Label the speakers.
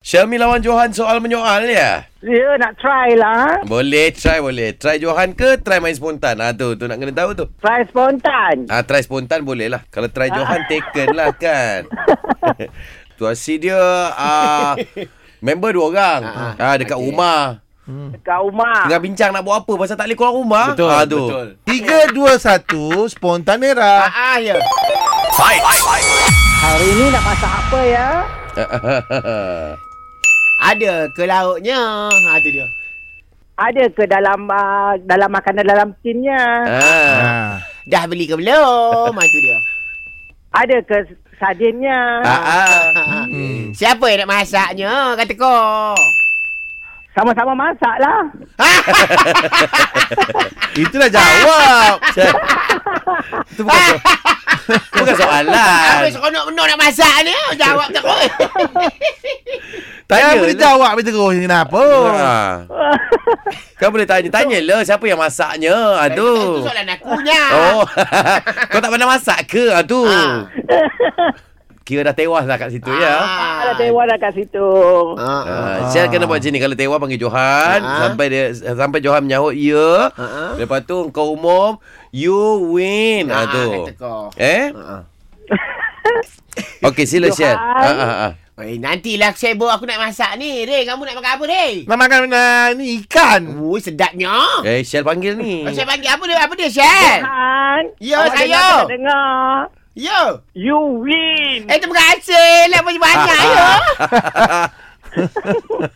Speaker 1: Syami lawan Johan soal menyoal ya?
Speaker 2: Ya, nak try lah.
Speaker 1: Boleh try boleh. Try Johan ke try main spontan? Ha tu, tu nak kena tahu tu.
Speaker 2: Try spontan.
Speaker 1: Ha try spontan boleh lah. Kalau try Johan taken lah kan. Situasi dia uh, member dua orang. Ha, dekat okay. rumah.
Speaker 2: Dekat rumah.
Speaker 1: Tengah bincang nak buat apa pasal tak boleh keluar rumah.
Speaker 3: Betul,
Speaker 1: Ah, tu.
Speaker 3: betul.
Speaker 4: Tiga, dua, satu. Spontan era.
Speaker 3: Ah, ya.
Speaker 2: Hari ni nak masak apa ya?
Speaker 1: Ah.
Speaker 3: Ada ke lauknya? Ha, tu dia.
Speaker 2: Ada ke dalam uh, dalam makanan dalam tinnya?
Speaker 1: ha.
Speaker 4: Ah.
Speaker 3: Dah beli ke belum? Ha, tu dia.
Speaker 2: Ada ke sardinnya?
Speaker 1: Ah, ah.
Speaker 4: Hmm.
Speaker 3: Siapa yang nak masaknya? Kata kau.
Speaker 2: Sama-sama masak lah.
Speaker 4: Itulah jawab.
Speaker 1: Itu bukan so- bukan soalan.
Speaker 3: Apa Ah, seronok benar nak masak ni? Ah, Jawab terus.
Speaker 4: Tanya
Speaker 1: lah.
Speaker 4: lah. boleh jawab Dia terus Kenapa
Speaker 1: Ha. Kau boleh tanya. Tanyalah siapa yang masaknya. Ha tu.
Speaker 3: Itu soalan akunya.
Speaker 1: Oh. Kau tak pandai masak ke? Ha tu.
Speaker 3: Ah.
Speaker 1: Kira dah tewas lah kat situ ya.
Speaker 2: Ah. Ada tewa dah kat situ.
Speaker 3: Ah, ah.
Speaker 1: Ha, Syah kena buat macam ni Kalau tewa panggil Johan
Speaker 3: Ah.
Speaker 1: Sampai dia Sampai Johan menyahut Ya
Speaker 3: Ah.
Speaker 1: Lepas tu kau umum You win ha,
Speaker 3: Ah,
Speaker 1: tu.
Speaker 3: kata kau.
Speaker 1: Eh
Speaker 3: Ah, ah.
Speaker 1: Okey sila
Speaker 2: Johan.
Speaker 1: Syah ha, ha, ha.
Speaker 3: Eh, nantilah sibuk aku nak masak ni. Rey, kamu nak makan apa, Rey?
Speaker 4: Nak makan uh, ni ikan
Speaker 3: Ui, sedapnya.
Speaker 1: Eh Syah panggil ni
Speaker 3: Saya panggil apa dia? Apa dia, Syed?
Speaker 2: Han.
Speaker 3: Ya,
Speaker 2: awak
Speaker 3: saya.
Speaker 2: dengar tak Dengar.
Speaker 3: Yo.
Speaker 2: You win.
Speaker 1: Ah,
Speaker 3: ya. Eh, terima kasih. Lah, banyak-banyak, yo.